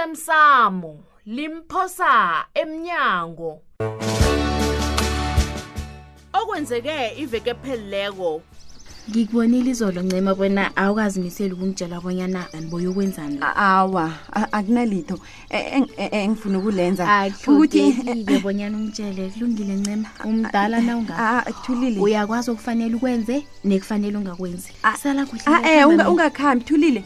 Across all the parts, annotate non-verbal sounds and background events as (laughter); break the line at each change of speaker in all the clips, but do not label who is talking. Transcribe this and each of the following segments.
osemsamo limphosa emnyango okwenzeke iveke phelileko
ngikubonile izolo ncema kwena awukazimiseli ukungitshela bonyana andiboye ukwenzani la
awa a- akunalitho E- eng- e- engifuna
Ah,
ukulenza
akuhlogekile bonyana ungitshele kulungile ncema umdala na unga
Ah, thulile
uyakwazi okufanele ukwenze nekufanele ungakwenzi
Ah,
sala kuhle
Ah, eh, unga- ungakhambi thulile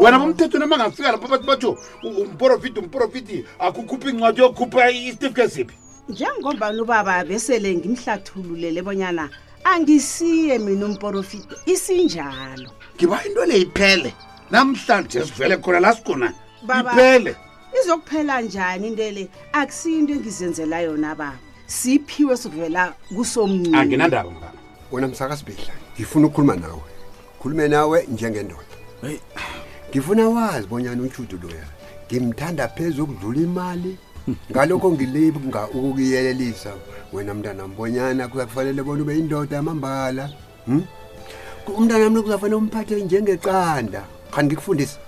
wena bomthethweni amangafika lapho abantu batsho u- umprofiti umprofiti akukhuphi incwadi yokukhupha isitifiketi siphi
njengombani ubaba besele ngimhlathululele bonyana angisiye mina umporofiti isinjalo
ngiba into le iphele namhlanje sivele khona la sigona
Baba.
iphele
izokuphela njani into le akusiyo into engizenzela yona baba siphiwe sokuvela
Mm.
kusomnini
anginandaba mbaba
wena msakasibhidla ngifuna ukukhuluma nawe khulume nawe njengendoda ngifuna wazi bonyana utshudu loya ngimthanda phezu ukudlula imali ngalokho ngilinga ukukuyelelisa wena mntanam bonyana kuzakufanele bona ube yindoda yamambala hmm? umntanam lo kuzafanele umphathe njengeqanda khani ngikufundisa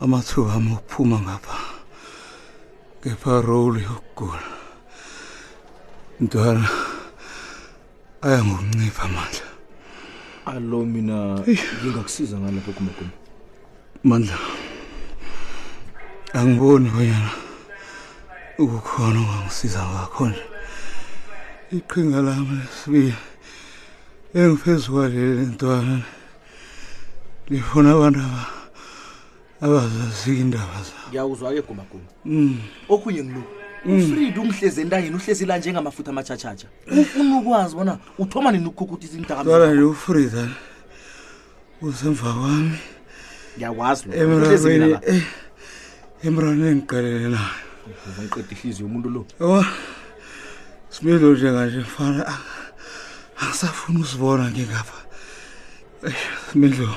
amathuba ami okuphuma ngapha ngeparoli yokugula mntwana aya ngokuncipha amandla
alo mina ngingakusiza ngani lapho gumaguma
mandla angiboni bonyana ukukhona ongangisiza ngakho nje iqhinga lami lesibili engiphezu kwaleli ntwana lifuna abantu aba- abazaziyo iindaba zabo
ngiyawuzwa-ke gumaguma okhunye ngilo ufrid ungihlezi entangeni uhlezi la njengamafutha amatshatshatsha ufuna ukwazi bona uthoma nini ukukhukuthi
Sala
izindakamizwa
nje ufrida usemva kwami
ngiyakwazi lokho. Uhlezi mina
emrarweni
la.
eh, emrarweni engiqelele nayo
Uva iqeda ihliziyo yomuntu lo
yabo similo njenganje mfana a- angisafuni usibona ngingapha similo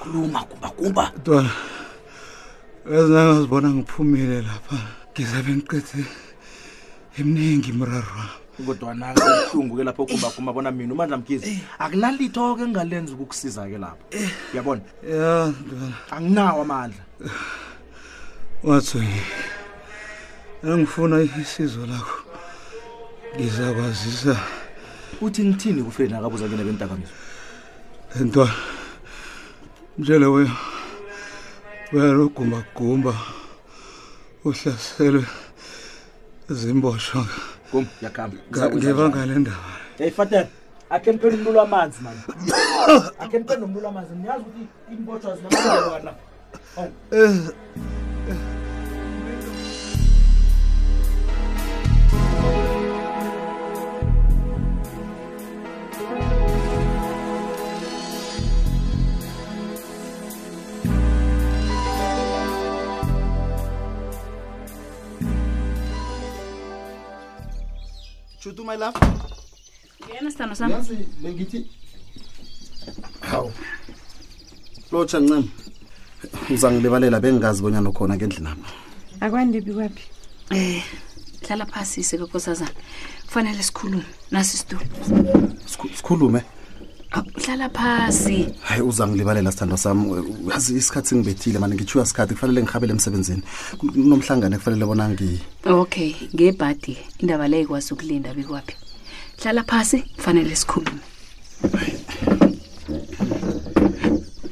khuluma gumagumba
Eh, mntwana ezinangazibona ngiphumile lapha ngizabe ngiqede emningi imraro wami
kodwana kubuhlungu-ke lapho gumaguma bona mina umandla mkhizi akunalitho-ke engalenza ukukusiza-ke lapho uyabona
ya mntwana
anginawo amandla
wathunye angifuna isizo lakho ngizakwazisa
uthi ngithini kufredi akabuza kena bendakamizwa
Ntwana. Mjele we. Wena ugumba gumba. Uhlaselwe zimboshwa
gum yakuhamba
ngebanga lendaba.
yayifatela akhe niphela umntu lwamanzi mani akhe niphela umntu lwamanzi niyazi ukuthi Oh. imbotshwa zinamalwana
shutu my love
yena sithando
yazi bengithi hawu lotsha ncema uzangilibalela bengingazi bonyana ukhona ke endlini ami
akwandibi kwaphi
eh hlala phasi sekekosazana kufanele sikhulume nasi isitulo
Sikhu- sikhulume
Aw, hlala phasi
hayi uzangilibalela sithando sami Eh, yazi isikhathi singibethile mane ngithiwa sikhathi kufanele ngihabele emsebenzini Kun- kunomhlangano ekufanele bona ngi
okay ngebhadi indaba leyo ikwazi ukulinda bikwaphi hlala phasi kufanele sikhulume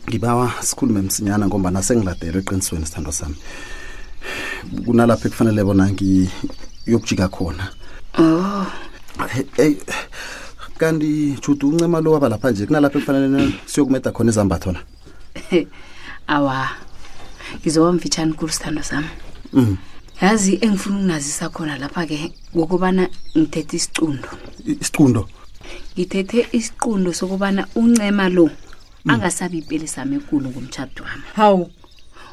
ngibawa sikhulume msinyana ngombana sengiladelwe eqinisweni sithando sami kunalapho ekufanele bona ngiyokujika khona
oh
Eh, eh, kanti judu uncema lo waba lapha nje kunalapho ekufanele na- siyokumeda khona izambatho na
(laughs) awa ngizoba mfitshane khulu sithando sami
Mm.
yazi engifuna ukunazisa khona lapha-ke ngokubana ngithethe isicundo
I- isiqundo
ngithethe isiqundo sokubana uncema lo angasabi ipeli sami ekulu ngomtshado wami
hawu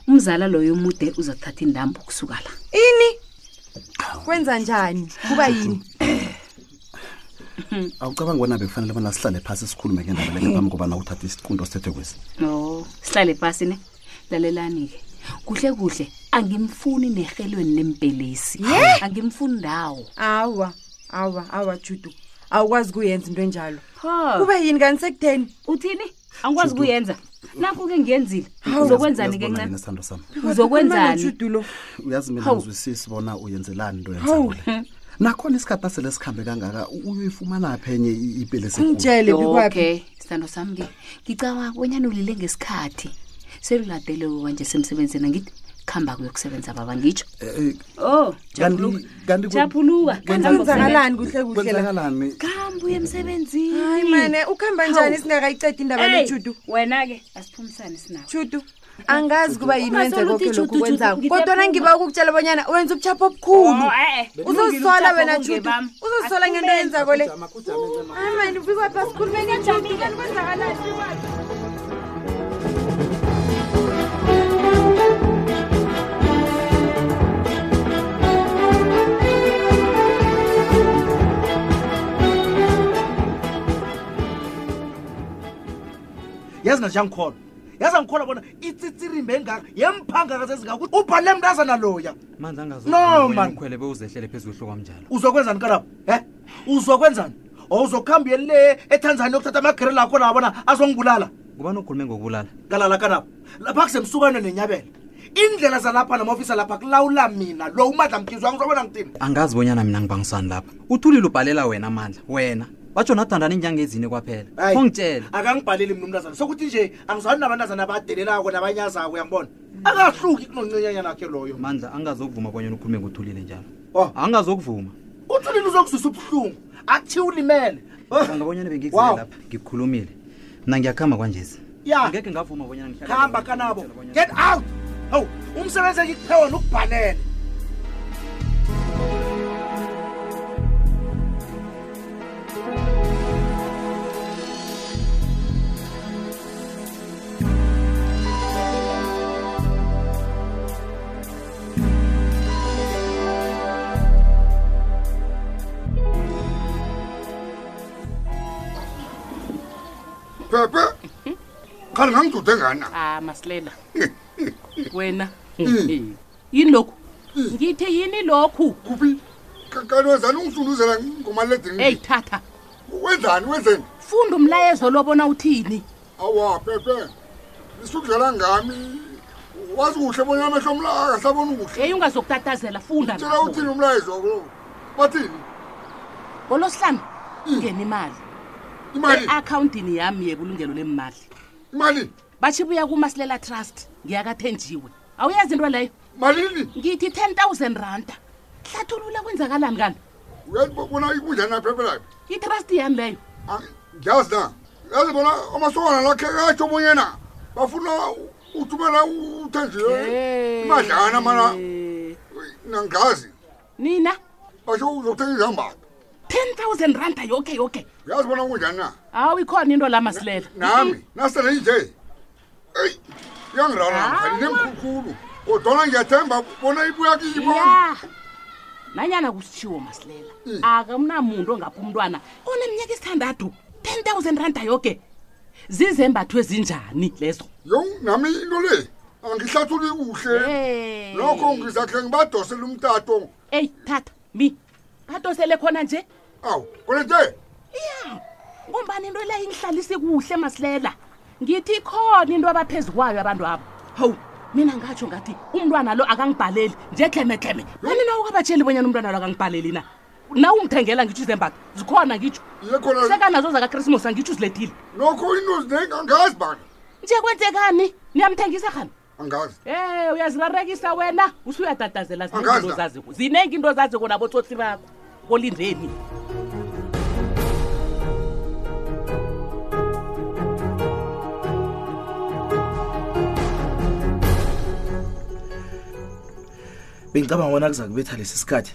umzala loyo mude uzathatha indambo ukusuka la
ini kwenza njani kuba yini
awucabanga wena bekufanele bona sihlale phasi sikhulume ngendaba leke phambi kobana uthathe isiqundo sithethe kwesi
no sihlale phasi ne lalelani-ke kuhle kuhle angimfuni nerhelweni lempelisi angimfuni ndawo
awa awa awa judu awukwazi kuyenza into enjalo
Ho.
kube yini kani sekutheni
uthini angikwazi kuyenza nakho-ke ngiyenzile uzokwenzani ke
Uyazibona yini
ncema
sithando sami
uzokwenzani
udulo
uyazi mina ngizwisisi bona uyenzelani into yenzakule nakhona isikhathi asele sikhambe kangaka u- uyoyifumana phi enye i- ipelesi ekulu?
ungitshele bikwaphi
okay sithando sami-ke ngicabanga bonyana ulile ngesikhathi seluladele kwanje semsebenzini angithi kuhamba kuyokusebenza baba ngitsho Oh,
Eh, eh,
o
kanti- kanti ku-
japuluka
kwenzakalani kuhle kuhle la
kwenzakalani
kuhamba uye emsebenzini
hayi mane ukuhamba njani
Hawu.
singakayicedi indaba
Hey,
lejudu
wena-ke asiphumisane sinawo
judu angazi kuba yini wenze
Ungasolo uthi
konke lokhu
Judu,
kwenzako
Judu,
kodwa
ngiyaphuma.
nangiba ukukutshela bonyana wenza ubuchapho obukhulu
Oh, eh, eh.
uzozisola
Kulungile
wena
ubuchapho
judu
obungebami.
uzozisola ngento yenzako le hayi mani bikwaphi asikhulumeni judu kani kwenzakalani bikwaphi
yazi nanje angikholwa yazi angikholwa bona itsitsirimbe engaka yemphangaka zezingakuthi ubhalele mntazana loya
manje
No, man.
angazokhwele bewuzehlele phezu kwehlo kwamnjalo
uzokwenzani kalapho e uzokwenzani or uzokuhamba uyelile etanzania yokuthatha amagerela akho lawa bona azongibulala
ngubani okhulume ngokubulala
kalala kalapho lapha kusemsukane nenyabela indlela zalapha namaofisa lapha kulawula mina lo umadla mkhizi wangu zobona ngitini
angazi bonyana mina ngibangisani lapha uthulile ubhalela wena amandla wena batsho nathandana iinyanga ezine kwaphela
Hayi,
ongitshele
akangibhaleli mina umntazana sokuthi nje angizwani nabantazana abadelelako nabanyazako uyangibona akahluki kunoncinyanyana akhe loyo
mandla angazokuvuma bonyana ukhulume ngothulile njalo
Oh.
angazokuvuma
uthulile uzokuzwisa ubuhlungu akuthi ulimele
angabonyana bengikuzile
Wow.
lapha ngikukhulumile mna ngiyakhamba kwanjesi
ya
ngeke ngavuma bonyana ngihlale-
khamba kanabo get out hawu umsebenzi engikuphe wona ukubhalele
phephe khani ngangidude ngani na
ah
(laughs)
masilela wena
Hmm.
yini lokhu ngithe yini lokhu
kuphi kanozani ungihlunduzela ngomaledini
eyi thatha
wenzani wenzeni
funda umlayezo lobona uthini
awa phephe lisudlala ngami wazi kuhle bonyana amehlo mla akasaboni kuhle
eyi ungazokutatazela funda
tshela uthini umlayezo wabo bathini
ngolosihlambi ngena imali
Eh,
imali
ah.
e-akhawundini yami yebulungelo lemali
imali
batsho buya kumasilela trust ngiyakathenjiwe awuyazi into leyo
malini
ngithi 10 000 randa hlathulula kwenzakalani kanti
uyabona ikunjani naphephe laphi
i-trust yami leyo
Ah, ngiyazi na yazi bona amasokana lakhe katsho bonyana bafuna uthumela uthenjiwe imadlana mana nangazi
Eh, nina
basho uzokuthenga izambato
10 000 randa yoke yoke
uyazi bona kunjani na
awu ikhona into la masilela (laughs)
nami nasele inje eyi
Hawa.
iyangiralaalinemkhulukhulu kodwana ngiyathemba bona ibuya kibo
ya nanyana kusitshiwo masilela
Hmm.
akamunamuntu ongapha umntwana oneminyaka esithandathu 10 000 randa yoke zizembatho ezinjani lezo
yo nami into le angihlathuli kuhle lokho ngizakhe ngibadosele umtato
eyi thatha mi badosele khona nje
awu kona nje
ya ngombani into leyo ingihlalisi kuhle masilela ngithi ikhona into abaphezu kwayo abantu abo hawu mina ngatsho ngathi umntwana lo akangibhaleli nje dlemetleme kani na ukabatsheli bonyana umntwana lo akangibhaleli na na ungithengela ngitsho izembatho zikhona ngitsho
iye khona
sekanazo zakakrismos angitsho uzilethile
nokho into zinengi angazi bani
nje kwenzekani niyamthengisa khani
angazi
e uyazirarekisa wena usuyatatazela
Angazi
zinengi
la.
into zaziko zinengi into zaziko nabotsotsi bakho kolindeni
bengicabanga bona kuza kubetha lesi sikhathi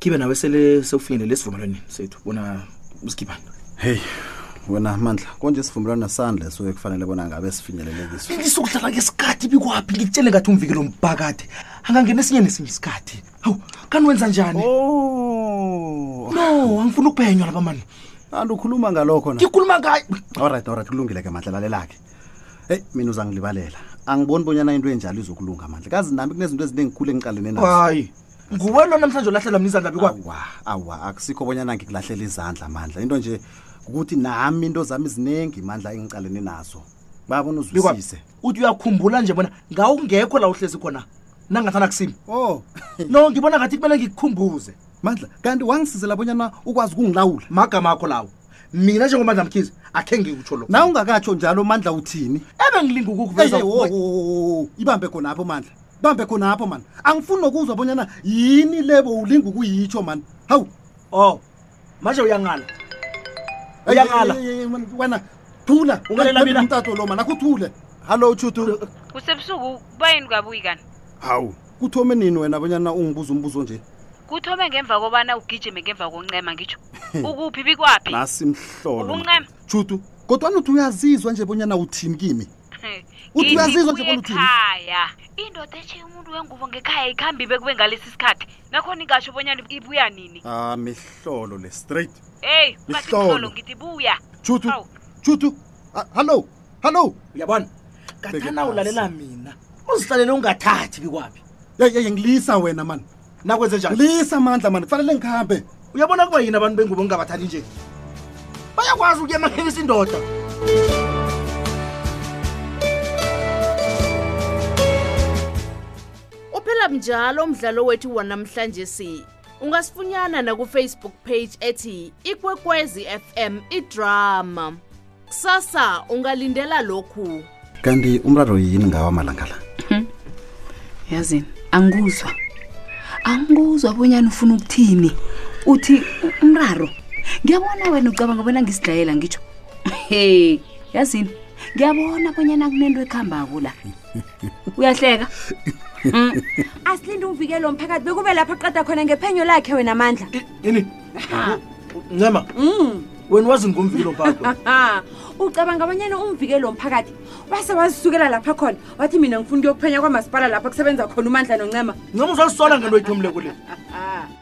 khibe nawe sele sewufinyelele esivumelwaneni sethu bona usikhiphani
hey wena mandla konje sivumelana sandle soke kufanele bona ngabe sifinyelele kiso
lisokudlala ngesikhathi bikwaphi ngikutshele ngathi umvikelo mbhakade angangena esinye nesinye isikhathi hawu kanti wenza njani
oh
no angifuni ukuphenywa lapha mani
kanti ukhuluma ngalokho na
ngikhuluma ngayo
allright allright kulungile ke mandla lalela-ke eyi mina uzangilibalela angiboni bonyana into enjalo izokulunga mandla kazi nami kunezinto eziningikhulu engiqalene nazo
hayi nguwe lo namhlanje olahlelwa mnizandla bekwami
awa akusikho bonyana ngikulahlela izandla mandla into nje ukuthi nami into zami ziningi mandla engicalene nazo babona
bekwami
uzwisise
uthi uyakhumbula nje bona ngawungekho la uhlezi khona nangathana kusimi
o
no ngibona ngathi kumele ngikukhumbuze
mandla kanti wangisizela bonyana ukwazi ukungilawula
magama akho lawo mina njengomandla mkhizi akhe ngiwutsho lo
na ungakatsho njalo mandla uthini
ebe ngilinga ukukuveza
Hey, hey, wo, wo, wo, ibambe khonapho mandla ibambe khonapho mani angifuni nokuzwa bonyana yini lebo ulinga ukuyitsho mani hawu
o Oh, manje uyangala
Hey, hey,
Uyangala.
hey, hey, man, wena thula
Ungalela
Kanti
mina?
umtato lo mani akuthule hallo chutu
kusebusuku kubayini kwabuyi kani
hawu kuthome nini wena bonyana ungibuza umbuzo nje
kuthome ngemva kobana ugijime ngemva kokuncema ngitsho ukuphi bikwaphi
nasi mhlolo man.
ubuncema
chutu kodwani uthi uyazizwa nje bonyana uthini kimi Uthi uyazizwa nje bona uthini?
ekhaya indoda etshiye umuntu wengubo ngekhaya ikhambi bekube ngalesi sikhathi nakhona ingasho bonyana ibuya nini
ah mihlolo le straight
eyi
Mihlolo.
ungathiholo ngithi buya
chutu chutu ah, hallo hallo
uyabona ngathana ulalela mina uzihlalele ungathathi bikwaphi
yeye ngilisa wena mani
nakwenze njani
lisa amandla mani kufanele ngihambe
uyabona kuba yini abantu bengubo ngingabathandi nje bayakwazi ukuya emakhekisa indoda
uphela njalo umdlalo wethu wanamhlanje si ungasifunyana nakufacebook page ethi ikwekwezi fm idrama kusasa ungalindela lokhu
kanti umraro yini ngawa malanga la
yazini angikuzwa angikuzwa bonyana ufuna ukuthini uthi u- umraro ngiyabona wena ucabanga bona ngisidlayela (laughs) ngitsho he yazini ngiyabona bonyana kunento ekuhambako la uyahleka Mm.
asilinde umvikelo womphakathi bekube lapho qeda khona ngephenyo lakhe wena mandla
yini ncema wena wazi
(laughs)
ngomvikilo mpaka
haha ucabanga abanyana umvikelo womphakathi wase wazisukela lapha khona wathi mina ngifuna ukuyokuphenya kwamasipala lapho kusebenza khona umandla noncema
ncema uzalisola ngento ayithomileko le
Ah.